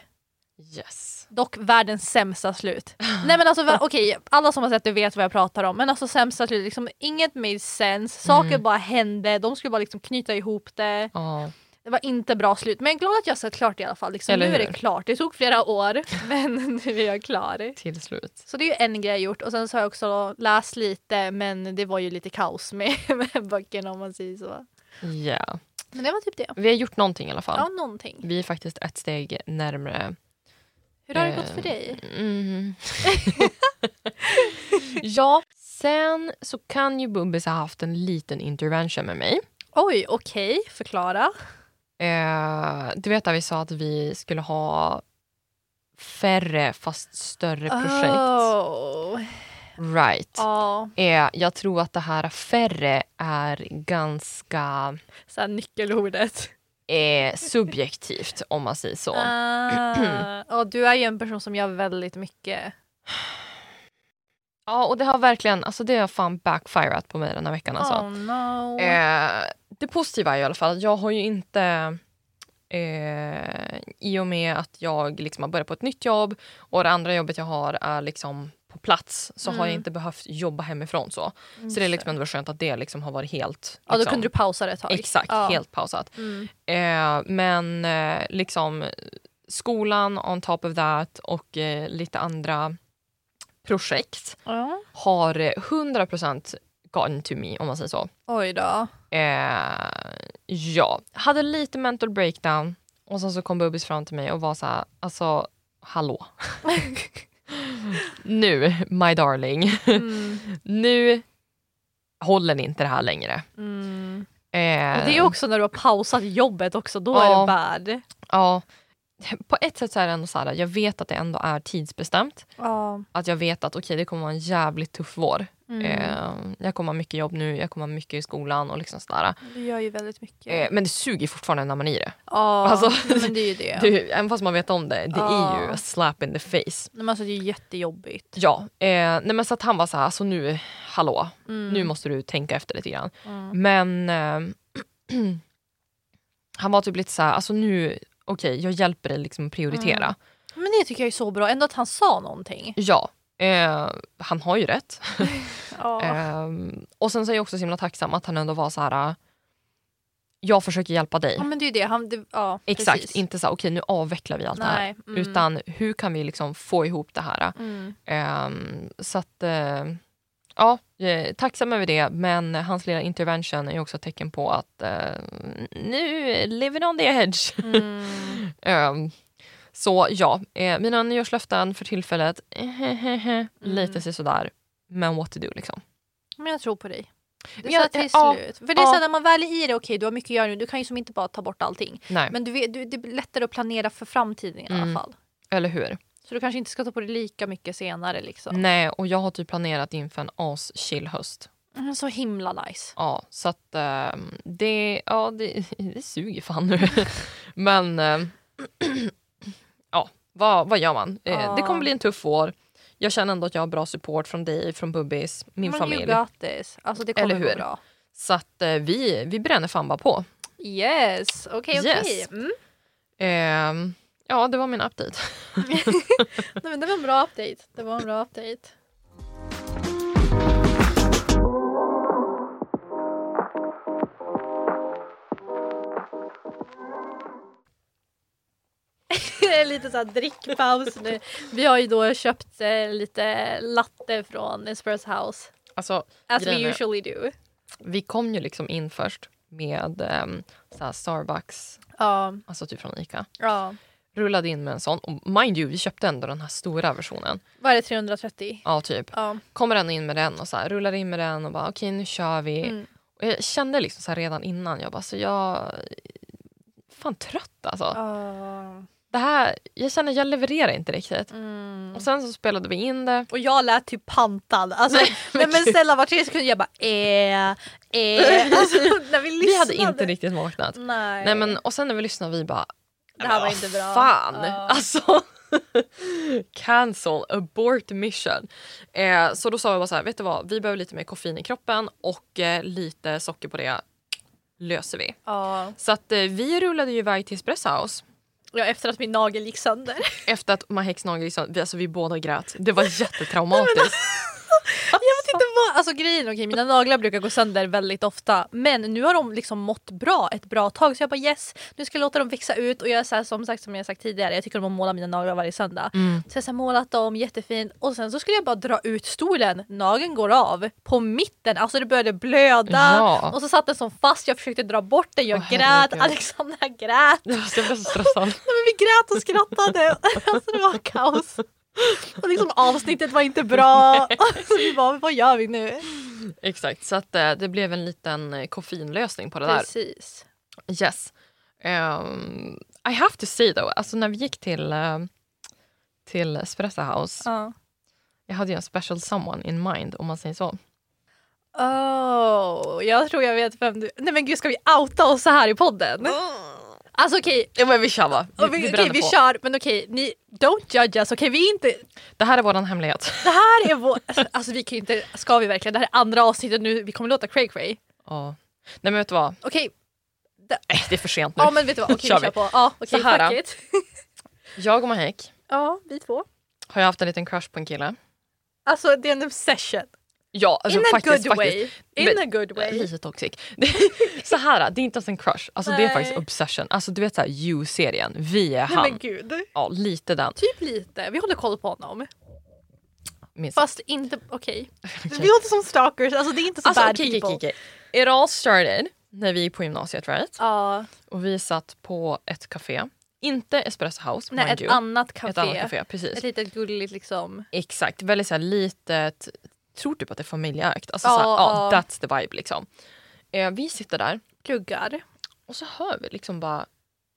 Yes.
Dock världens sämsta slut. Nej men alltså va- okej, alla som har sett det vet vad jag pratar om. Men alltså sämsta slut, liksom, inget made sense. Saker
Mm.
bara hände, de skulle bara liksom knyta ihop det.
Ja.
Det var inte bra slut. Men jag är glad att jag har sett klart i alla fall. Liksom,
Eller
nu är
hur?
det klart. Det tog flera år men nu är jag klar.
Till slut.
Så det är ju en grej jag gjort och sen så har jag också läst lite men det var ju lite kaos med, med böckerna om man säger så.
Ja.
Men det var typ det.
Vi har gjort någonting i alla fall.
Ja, någonting.
Vi är faktiskt ett steg närmre.
Hur har det gått
Eh,
för dig?
Mm. ja, sen så kan ju Bubbis ha haft en liten intervention med mig.
Oj, okej, förklara.
Eh, du vet att vi sa att vi skulle ha färre fast större
Ah.
projekt.
Oh.
Right.
Ja,
Eh, jag tror att det här färre är ganska...
så här nyckelordet.
eh, subjektivt om man säger så.
Ah, och du är ju en person som gör väldigt mycket.
Ja och det har verkligen, alltså det har fan backfirat på mig den här veckan alltså.
Oh no.
Eh, det positiva är i alla fall att jag har ju inte... Eh, I och med att jag liksom har börjat på ett nytt jobb och det andra jobbet jag har är liksom på plats så har jag
Mm.
inte behövt jobba hemifrån. så. Så det är liksom ändå skönt att det liksom har varit helt...
ja, då
liksom,
kunde du pausa det ett tag.
Exakt,
ja.
helt pausat.
Mm.
Eh, men eh, liksom skolan on top of that och eh, lite andra projekt
Ja.
har eh, 100% gotten to me om man säger så.
Oj då.
Eh, ja, hade lite mental breakdown och sen så kom Bubbis fram till mig och var så här, alltså hallå. nu, my darling,
Mm.
nu håller inte det här längre.
Mm.
Eh,
Och det är också när du har pausat jobbet också, då är
Ja.
det bad.
Ja, på ett sätt så är det ändå så här, jag vet att det ändå är tidsbestämt.
Ja.
Att jag vet att okej, det kommer vara en jävligt tuff vår.
Mm.
Eh, jag kommer ha mycket jobb nu, jag kommer ha mycket i skolan och liksom sådär.
Du gör ju väldigt mycket.
Eh, men det suger fortfarande när man är i det.
ja,
alltså-
nej, men det är ju det.
Du, även fast man vet om det, det är ju
Ja.
a slap in the face.
Nej, men alltså, det är ju jättejobbigt.
Ja, eh, nej men så att han var så här, alltså nu, hallå,
Mm.
nu måste du tänka efter lite grann.
Mm.
Men eh, han var typ lite så här, alltså nu, okej jag hjälper dig liksom att prioritera.
Mm. Men det tycker jag är så bra, ändå att han sa någonting.
Ja, eh, han har ju rätt.
Ja.
Eh, och sen så är jag också så himla tacksam att han ändå var så här, "Eh, jag försöker hjälpa dig.
ja men det är ju det, han, det ja,
Exakt,
precis.
inte så här, okej nu avvecklar vi allt det här.
Nej, mm.
Utan hur kan vi liksom få ihop det här?
Mm.
Ehm, så att, eh, ja, jag är tacksam över det. Men hans lilla intervention är ju också ett tecken på att eh, nu, living on the edge.
Mm.
Ehm, så ja, eh, mina nyårslöften för tillfället, lite så sådär. Men what to do liksom.
Men jag tror på dig. Det
Men
är
jag-
så till
ja,
slut. För det är så
ja.
här, när man väl är i det, okej du har mycket att göra nu, du kan ju som inte bara ta bort allting.
Nej,
Men du vet, du, det är lättare att planera för framtiden i alla
Mm.
fall.
eller hur?
Så du kanske inte ska ta på dig lika mycket senare liksom.
Nej, och jag har typ planerat inför en as-chill höst.
Mm, så himla nice.
Ja, så att ehm, det, ja, det, det suger fan nu. Men ehm, ja, vad, vad gör man? Eh,
Ja.
Det kommer bli en tuff år. Jag känner ändå att jag har bra support från dig, från Bubbis, min
Men
familj.
you got this. Alltså det kommer
Eller
gå
hur?
bra.
Så att eh, vi, vi bränner fan bara på.
Yes, okej okej.
Yes.
Mm.
Ehm, ja, det var min update.
Nej, men det var en bra update. Det var en bra update. lite så här drickpaus nu. Vi har ju då köpt eh, lite latte från Espresso House.
Alltså,
As
Grejen
we
är-
usually do.
vi kom ju liksom in först med ehm, så här Starbucks,
Ja,
alltså typ från Ica.
ja.
Rullade in med en sån. Och mind you, vi köpte ändå den här stora versionen.
Vad är det 330?
Ja, typ.
Ja.
kommer han in med den och så här, rullar in med den och bara okej nu kör vi.
Mm.
Och jag kände liksom så här redan innan, jag bara så jag fan trött alltså.
Ja.
Det här, jag känner jag levererar inte riktigt.
Mm.
Och sen så spelade vi in det.
Och jag lät typ pantad. Alltså, nej, men, snälla var tredje sekund jag bara eh, eh. Alltså, när vi lyssnade.
Vi hade inte riktigt vaknat.
Nej.
Nej, men, och sen när vi lyssnade vi bara
det här var
"Vad
inte bra.
Fan!
Ja.
Alltså cancel, abort mission. Eh, så då sa vi bara så här, vet du vad, vi behöver lite mer koffein i kroppen och eh, lite socker på det löser vi.
Ja.
Så att eh, vi rullade ju iväg till Espresso House
ja, efter att min nagel gick sönder.
efter att Mahex nagel liksom, vi, alltså vi båda grät. Det var jättetraumatiskt.
jag vet inte vad, alltså grejen okej mina naglar brukar gå sönder väldigt ofta men nu har de liksom mått bra ett bra tag så jag bara yes nu ska jag låta dem växa ut och jag är så här, som sagt som jag sagt tidigare jag tycker om att måla mina naglar varje söndag.
Mm.
Så jag har så här målat dem jättefint och sen så skulle jag bara dra ut stolen, nageln går av på mitten, alltså det började blöda
Ja.
och så satt den som fast, jag försökte dra bort den, jag
Åh,
grät,
herregud.
Alexandra grät.
Alltså, jag blev så stressad.
Nej, men vi grät och skrattade. Alltså det var kaos. Och liksom avsnittet var inte bra. Alltså, vi bara, vad gör vi nu?
Exakt, så att, eh, det blev en liten eh, koffeinlösning på det där.
Precis.
Yes. Ehm, I have to say though, alltså när vi gick till, eh, till Espresso House,
Ja.
jag hade ju en special someone in mind om man säger så.
Oh, jag tror jag vet vem du... Nej men gud, ska vi outa oss så här i podden? Alltså okej,
Ja, men vi kör va? Vi,
och vi,
vi
okej,
bränner
vi
på.
kör men okej, ni don't judge us. Okej vi är inte,
Det här är våran hemlighet.
det här är vår, alltså vi kan ju inte, ska vi verkligen? Det här är andra avsnittet nu, vi kommer låta cray cray.
Ja. Nej men vet du vad?
Okej,
Nej, det är för sent nu.
ja men vet du vad, okej vi
Kör vi.
kör på. Ja, okej,
Så här,
fuck it.
Jag och Mahek
Ja, vi två.
har ju haft en liten crush på en kille.
Alltså det är en obsession.
Ja, alltså,
In a
faktiskt,
good
faktiskt.
way. In
Men-
a good way.
Lite toxic. Det är- så här, det är inte ens en crush. Alltså, det är
Nej.
faktiskt obsession. Alltså, du vet så här, you-serien. Vi är
Nej men
han.
gud.
Ja, lite den.
Typ lite, vi håller koll på honom.
Minst.
Fast inte, okej. Vi låter som stalkers, alltså det är inte så
Alltså,
bad
okej, okej,
people.
okej, okej. It all started när vi gick på gymnasiet, right?
Ja,
Och vi satt på ett café. Inte Espresso House,
nej
mind
ett
you.
annat
Ett annat
café.
café, precis.
Ett litet gulligt liksom.
Exakt, väldigt så här litet. Tror typ att det är familjeägt. Alltså,
Ja,
så här, ja,
ja.
that's the vibe liksom. Eh, vi sitter där
Pluggar.
och så hör vi liksom bara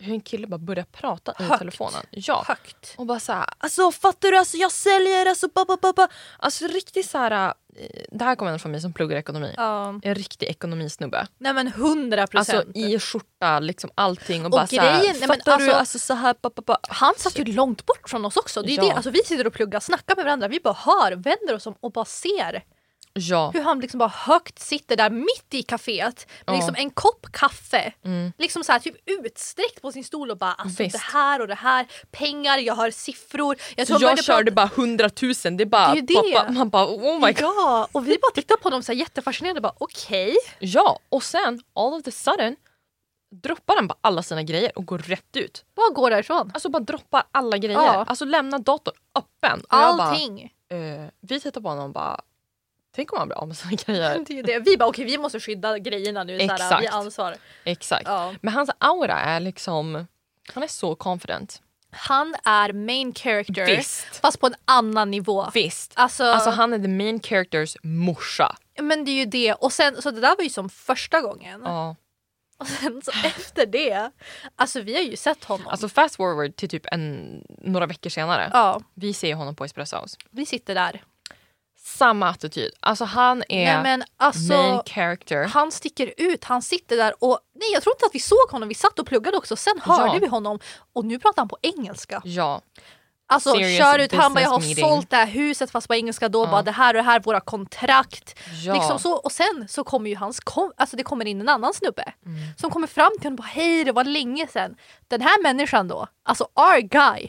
hur en kille bara börjar prata i
Högt.
telefonen. Ja.
Högt.
Och bara så här, alltså fattar du, alltså jag säljer, alltså ba, ba, ba, ba. Alltså riktigt så här, eh, det här kommer från mig som pluggar ekonomi.
Ja.
En riktig ekonomisnubbe.
Nej men hundra
Alltså
procent.
i skjorta, liksom allting och,
Och
bara så här,
grejen- nej, men
fattar du,
alltså-
alltså så här, ba, ba, ba.
Han satt ju långt bort från oss också. Det är ju
Ja.
det. Alltså, vi sitter och pluggar, snackar med varandra, vi bara hör, vänder oss om och bara ser
Ja,
hur han liksom bara högt sitter där mitt i kaféet med
Ja.
liksom en kopp kaffe.
Mm.
Liksom så här, typ utsträckt på sin stol och bara alltså,
Visst.
det här och det här, pengar, jag hör siffror. Jag, tror han
jag
började prata-
körde bara hundratusen, det är bara,
Det är ju det.
Pappa, man bara oh my god.
Ja, och vi bara tittar på dem så här jättefascinerade bara okej.
Ja, och sen all of the sudden droppar han bara alla sina grejer och går rätt ut.
Vad går därifrån?
Alltså bara droppar alla grejer.
Ja.
Alltså lämnar datorn öppen. Och jag bara,
Allting.
eh, vi tittar på honom och bara, tänk om han blir av med sina grejer.
Det är ju det. Vi bara okej vi måste skydda grejerna nu, så här,
Exakt.
vi har ansvar.
Exakt.
Ja.
Men hans aura är liksom, han är så confident.
Han är main character
Visst.
fast på en annan nivå.
Visst.
Alltså,
Alltså han är the main characters morsa.
Men det är ju det. Och sen, så det där var ju som första gången.
Ja.
Och sen så efter det, alltså vi har ju sett honom.
Alltså fast forward till typ en, några veckor senare.
ja,
Vi ser ju honom på Espresso House.
vi sitter där.
Samma attityd. Alltså han är
Nej men alltså,
main character.
han sticker ut, han sitter där och nej jag tror inte att vi såg honom, vi satt och pluggade också, sen hörde
Ja.
vi honom och nu pratar han på engelska.
Ja.
Alltså
Serious
kör ut, han bara jag har
business meeting.
sålt det här huset fast på engelska då,
Ja.
bara det här och det här, våra kontrakt.
ja.
Liksom så, och sen så kommer ju hans, kom, alltså det kommer in en annan snubbe
Mm.
som kommer fram till honom och bara hej det var länge sedan. Den här människan då, alltså our guy.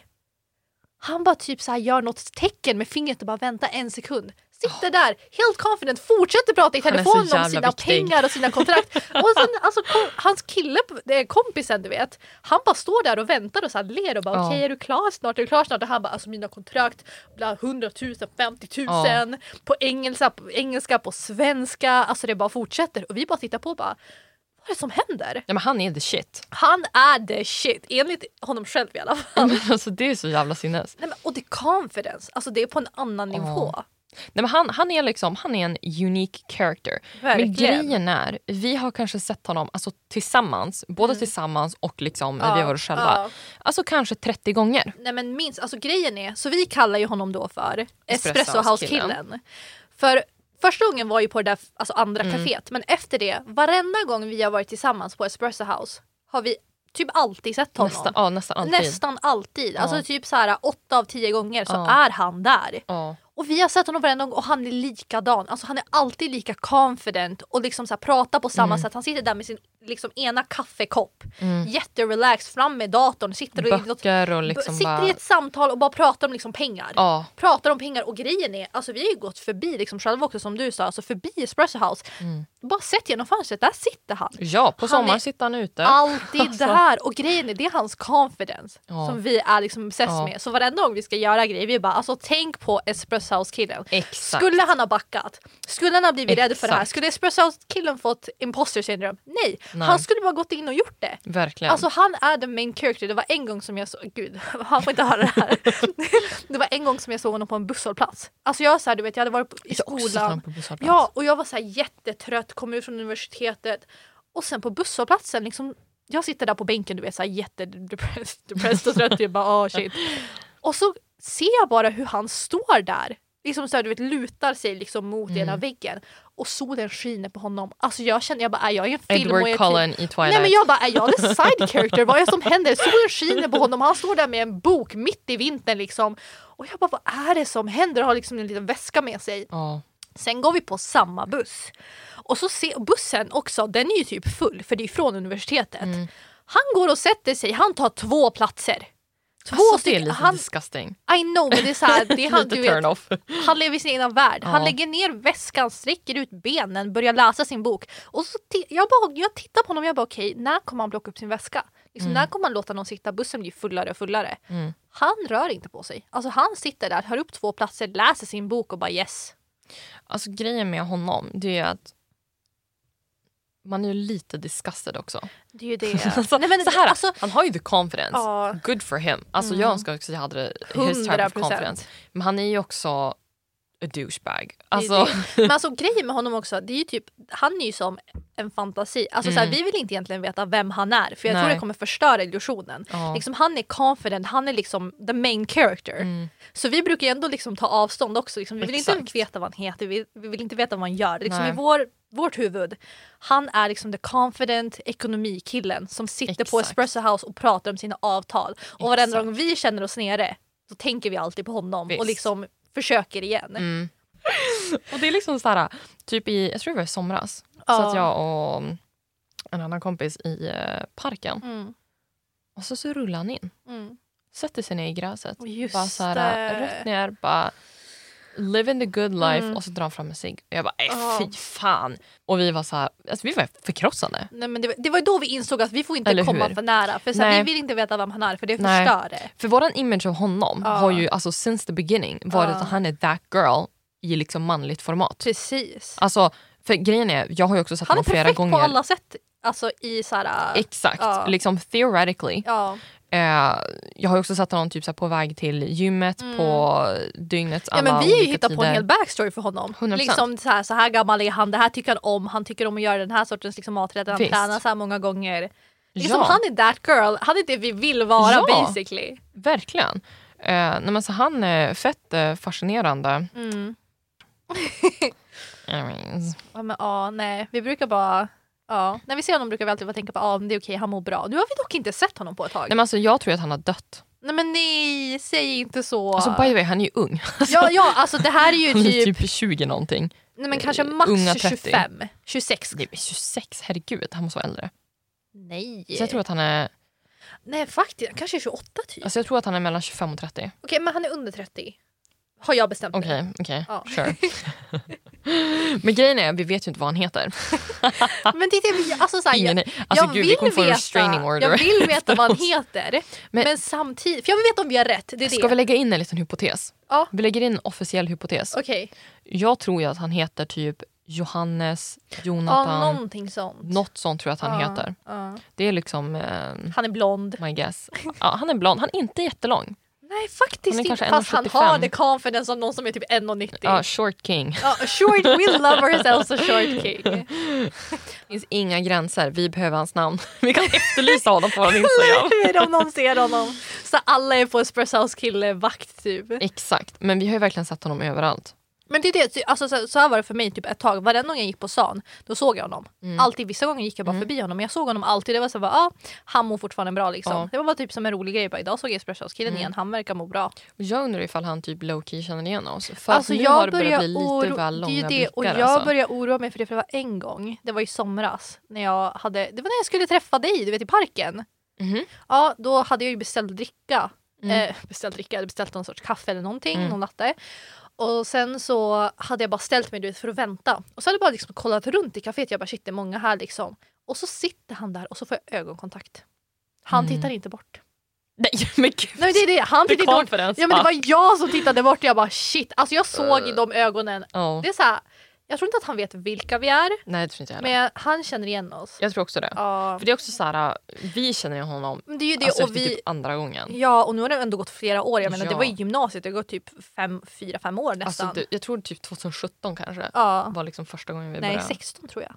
Han bara typ så här gör något tecken med fingret och bara vänta en sekund. Sitter där helt confident, fortsätter prata i
Han är så
telefon om
jävla
sina
viktig.
pengar och sina kontrakt. och sen, alltså, kom, hans kille, eh, kompisen du vet, han bara står där och väntar och så här ler och bara
Ja.
okej är du klar snart? Är du klar snart? Och han bara alltså mina kontrakt, bla 100 000, 50 000 på, engelska, på engelska, på svenska. Alltså det bara fortsätter och vi bara tittar på och bara vad är det som händer?
Ja, men han är the shit.
Han är the shit, enligt honom själv i alla fall.
Men alltså, det är så jävla sinnes.
Nej, men, och det är confidence, alltså det är på en annan nivå.
Nej, men han, han, är liksom, han är en unique character. Men
Verkligen.
grejen är, vi har kanske sett honom alltså, tillsammans, både tillsammans och liksom, när vi var oss själva,
Mm. ja.
alltså kanske 30 gånger.
Nej men minst, alltså grejen är, så vi kallar ju honom då för
Espresso
Espresso
House-killen.
House-killen. För första gången var ju på det där alltså andra
Mm.
kaféet, men efter det, varenda gång vi har varit tillsammans på Espresso House har vi typ alltid sett honom.
Nästan, ja, nästan alltid.
Nästan alltid. Alltså
Ja.
typ så här åtta av tio gånger så
Ja.
är han där.
Ja.
Och vi har sett honom varenda gång och han är likadan. Alltså han är alltid lika confident och liksom så här, pratar på
Mm.
samma sätt. Han sitter där med sin liksom, ena kaffekopp. Jätterelaxed, fram med datorn, sitter, och i något,
Böcker och liksom
sitter
bara...
i ett samtal och bara pratar om liksom, pengar.
Ja,
Pratar om pengar och grejen är, alltså vi har ju gått förbi liksom själva också som du sa, alltså förbi Espresso House.
Mm.
Bara sett genom fönstret, där sitter han.
ja, på
Han
sommaren
är-
sitter han ute.
Alltid
Alltså.
där! Och grejen är, det är hans confidence
Ja.
som vi är liksom obsessed
Ja.
med. Så varenda gång vi ska göra grejer, vi bara alltså tänk på Espresso House-killen.
Exakt.
Skulle han ha backat? Skulle han ha blivit rädd för det här?
Exakt.
Skulle Espresso House-killen fått imposter syndrome? Nej.
Nej.
han skulle bara gått in och gjort det.
Verkligen.
Alltså han är the main character. Det var en gång som jag såg, gud han får inte höra det här. det var en gång som jag såg honom på en busshållplats. Alltså jag så här, du vet jag hade varit på- i
jag har också sett
skolan.
honom på busshållplats.
Ja, och jag var så här jättetrött, kom ut från universitetet. Och sen på busshållplatsen, liksom, jag sitter där på bänken, du vet så här jättedepressed depressed och trött. Jag bara, ah shit. Och så ser jag bara hur han står där. liksom så här, du vet, lutar sig liksom mot
Mm.
ena väggen och solen skiner på honom. Alltså jag känner, jag bara, är typ- jag i en film? och
Edward
jag
Cullen i Twilight.
Nej men jag bara, är jag the side character? Vad är det som händer? Solen skiner på honom, han står där med en bok mitt i vintern liksom. Och jag bara, vad är det som händer? Och har liksom en liten väska med sig.
Ja.
Sen går vi på samma buss. Och så se, bussen också, den är ju typ full för det är från universitetet.
Mm.
Han går och sätter sig, han tar två platser. Två
Alltså, det är
stycken.
lite
Han,
disgusting.
I know men det är så här, det är han,
lite
du vet,
turn-off.
han lever i sin egna värld. Han
Ja.
lägger ner väskan, sträcker ut benen, börjar läsa sin bok. Och så ti- jag, bara, jag tittar på honom och jag bara okej, när kommer han plocka upp sin väska? Liksom, När kommer han låta någon sitta? Bussen blir fullare och fullare.
Mm.
Han rör inte på sig. Alltså han sitter där, hör upp två platser, läser sin bok och bara yes.
Alltså grejen med honom det är att man är ju lite disgusted också.
Det är ju det.
Alltså,
Nej, men,
så här,
alltså,
han har ju the confidence.
ja, Mm.
Good for him. Alltså jag önskar också att jag hade his type of
100%.
confidence. Men han är ju också a douchebag.
det är ju
Alltså,
det. Men alltså grejen med honom också, det är ju typ, han är ju som en fantasi. Alltså, så här,
Mm.
vi vill inte egentligen veta vem han är för jag tror
Nej.
det kommer förstöra illusionen.
ja.
Liksom, han är confident, han är liksom the main character.
Mm.
Så vi brukar ju ändå liksom ta avstånd också. Liksom. Vi vill
Exakt.
inte veta vad han heter, vi, vi vill inte veta vad han gör. Liksom
Nej.
I vår, vårt huvud, han är liksom the confident ekonomikillen som sitter på
Exakt.
Espresso House och pratar om sina avtal. Och varenda gång vi känner oss nere så tänker vi alltid på honom och
Visst.
liksom försöker igen.
Mm. och det är liksom så här, typ i, jag tror det var i somras,
Ja.
satt jag och en annan kompis i eh, parken
Mm,
och så, så rullade han in,
mm.
sätter sig ner i gräset,
Och Just
bara så här,
det.
rätt ner, bara living the good life
Mm.
och så drar han fram en cigg. Och Jag bara, äh,
Ja.
fy fan. Och vi var så här, alltså, vi var förkrossade.
Nej, men det, var- det var då vi insåg att vi får inte
Eller
komma
hur?
för nära. För så här,
Nej.
vi vill inte veta vem han är för det
Nej.
förstör det.
För våran image av honom
Ja.
har ju alltså since the beginning varit
Ja.
att han är that girl i liksom manligt format.
Precis.
Alltså, för grejen är, jag har ju också sett
Han är
honom flera
perfekt
gånger.
på alla sätt. Alltså i så här...
Exakt,
Ja.
liksom theoretically.
ja.
Eh, jag har ju också sett honom typ så här på väg till gymmet på dygnets
Mm. Ja
alla
men vi har ju
olika
hittat på en
tider.
hel backstory för honom.
100%.
Liksom så här, så här gammal är han, det här tycker han om, han tycker om att göra den här sortens liksom, maträtter, han
Visst.
tränar så här många gånger. Liksom,
Ja.
Han är that girl, han är det vi vill vara
Ja.
basically.
Verkligen. Eh, nej, men så han är fett eh, fascinerande.
Mm.
Anyways.
Ja, men, ja, nej. Vi brukar bara, ja. när vi ser honom brukar vi alltid bara tänka på ah, men det är okej, han mår bra. Nu har vi dock inte sett honom på ett tag.
Nej, men alltså, jag tror att han har dött.
Nej men nej, säg inte så.
Alltså, by the way, han är ju ung.
ja, ja, alltså det här är ju
Han är
typ,
typ 20 någonting.
nej, men kanske
eh,
max
unga 30.
25, 26.
Nej, men 26, herregud. Han måste vara äldre.
Nej,
Så jag, tror att han är,
nej faktiskt, kanske 28 typ.
alltså, jag tror att han är mellan 25 och 30.
Okej, men han är under 30. Har jag bestämt mig.
Okej, okej.
Ja.
Sure. men grejen är, vi vet ju inte vad han heter.
Men titta, jag- alltså såhär,
Ingen,
jag,
alltså,
jag,
gud, vi
vill
kommer få en restraining
veta,
order.
jag vill veta vad han heter. Men,
Men-
samtidigt, för jag vill veta om vi har rätt. Det är
Ska
det.
vi lägga in en liten hypotes?
Ja.
Vi lägger in en officiell hypotes.
Okej,
Jag tror ju att han heter typ Johannes,
ja,
Jonathan,
någonting sånt.
något sånt tror jag att han
Ja,
heter.
ja.
Det är liksom eh,
Han är blond.
my guess. Ja, han är blond, han är inte jättelång.
Nej
Han
faktiskt
är
inte,
kanske
fast han
1,75.
har det confidence av någon som är typ 1,90.
Ja, short king.
Ja, short, we love ourselves a short king.
Det finns inga gränser, vi behöver hans namn. Vi kan efterlysa honom på vår Instagram.
Hur om någon ser honom. Så alla är på Espresso House kille-vakt typ.
Exakt, men vi har ju verkligen sett honom överallt.
Men det är det, alltså, så, så här var det för mig typ ett tag. Varenda gång jag gick på stan, då såg jag honom.
Mm.
Alltid, vissa gånger gick jag bara förbi honom, men jag såg honom alltid. Det var så här, bara, ah, han mår fortfarande bra liksom.
Ja. Mm.
Det var bara typ som en rolig grej. Bara, idag såg jag Espressohouse-killen igen, han verkar må bra.
Och Jag undrar ifall han typ low-key känner igen oss. För
Alltså,
att nu
jag
har det börjat bli
börjar
lite
oro-
väl
det är ju
långa
det,
blickar.
Och jag
alltså.
börjar oroa mig för det, för det var en gång, det var i somras, när jag hade, det var när jag skulle träffa dig du vet, i parken.
Mhm.
Ja, då hade jag ju beställt dricka.
Mm.
Eh, beställt dricka, jag hade beställt någon sorts kaffe eller någonting,
Mm.
någon latte. Och sen så hade jag bara ställt mig du vet, för att vänta. Och så hade jag bara liksom kollat runt i kaféet, jag bara shit det är många här liksom. Och så sitter han där och så får jag ögonkontakt. Han
Mm.
tittar inte bort.
Nej men gud.
Nej men det är det, han tittar inte bort.
confidence.
Ja men det var jag som tittade bort och jag bara shit, alltså jag såg i
Eh.
de ögonen.
Ja.
Det är så här, jag tror inte att han vet vilka vi är,
Nej det tror inte jag heller.
men han känner igen oss.
Jag tror också det.
Ja.
För det är också så här, vi känner ju honom
Men det är ju det
alltså,
och
efter
vi...
typ andra gången.
Ja och nu har det ändå gått flera år, jag menar det
Ja.
var i gymnasiet, det har gått typ 4-5 år nästan.
Alltså, det, jag tror typ 2017 kanske
Ja.
var liksom första gången vi
Nej,
började.
16 tror jag.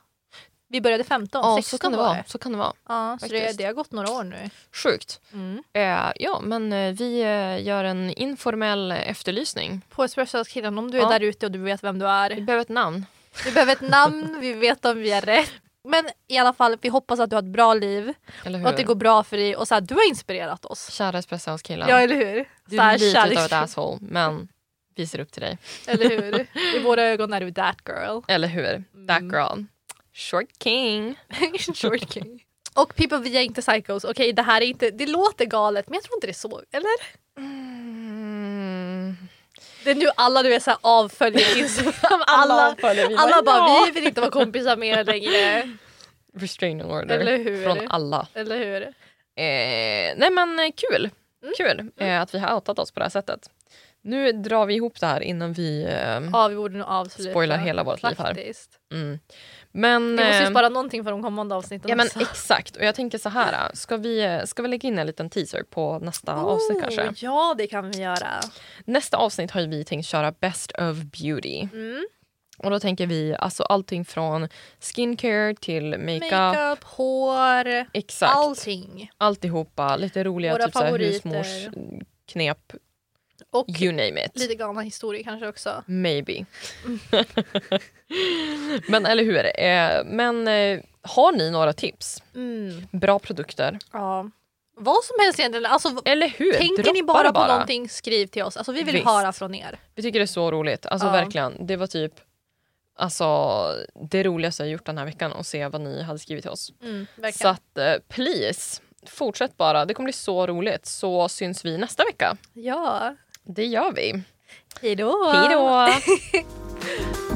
Vi började 15,
Ja,
16
så kan det
var
vara.
det.
Så kan det vara.
Ja, så det,
Faktiskt.
det har gått några år nu.
Sjukt.
Mm.
Eh, ja, men eh, vi eh, gör en informell efterlysning.
På Espressoaskillen, om du är
Ja.
där ute och du vet vem du är.
Vi behöver ett namn.
Vi behöver ett namn, vi vet om vi är rätt. Men i alla fall, vi hoppas att du har ett bra liv
Eller hur?
och att det går bra för dig och så här, du har inspirerat oss.
Kära espressohousekillar.
Ja, eller hur?
Du
Så här,
är lite utav
kärleks-
ett asshole, men vi ser upp till dig.
Eller hur? I våra ögon är du that girl.
Eller hur? That
Mm.
girl. Short king.
Short king. Och people vi är inte psychos. Okej, det här är inte, det låter galet men jag tror inte det är så, eller?
Mm.
Det är nu alla du är såhär avföljer Instagram. Alla, alla bara vi vill inte vara kompisar med er längre.
Restraining order.
Eller hur?
Från alla.
Eller
Mm.
hur?
Eh, nej men eh, kul.
Mm.
Kul eh, att vi har outat oss på det här sättet. Nu drar vi ihop det här innan vi... Eh,
Ja, vi borde nog avsluta.
Spoilar hela vårt liv här.
Faktiskt.
mm. Men...
Vi måste ju
eh,
spara någonting för de kommande avsnitten
Ja men
också.
exakt. Och jag tänker så här. Ska vi, eh, ska vi lägga in en liten teaser på nästa avsnitt kanske?
Oh, Ja, det kan vi göra.
Nästa avsnitt har ju vi tänkt köra Best of Beauty.
Mm.
Och då tänker vi alltså allting från skincare till makeup.
Makeup, hår,
Exakt.
allting.
Alltihopa. Lite roliga
Våra
typ så här,
favoriter.
husmorsknep.
Och
You name it.
lite galna historier kanske också.
Maybe. men eller hur? Eh, men eh, har ni några tips?
Mm.
Bra produkter?
Ja. Vad som helst egentligen. Alltså,
Eller hur?
tänker
Droppa
ni
det
bara på någonting, skriv till oss. Alltså, vi vill
Visst.
höra från er.
Vi tycker det är så roligt. Alltså
Ja.
verkligen. Det var typ alltså, det roligaste jag gjort den här veckan och se vad ni hade skrivit till oss.
Mm,
Så
verkligen.
att eh, please, fortsätt bara. Det kommer bli så roligt. Så syns vi nästa vecka.
Ja.
Det gör vi.
Hej då.
Hej då!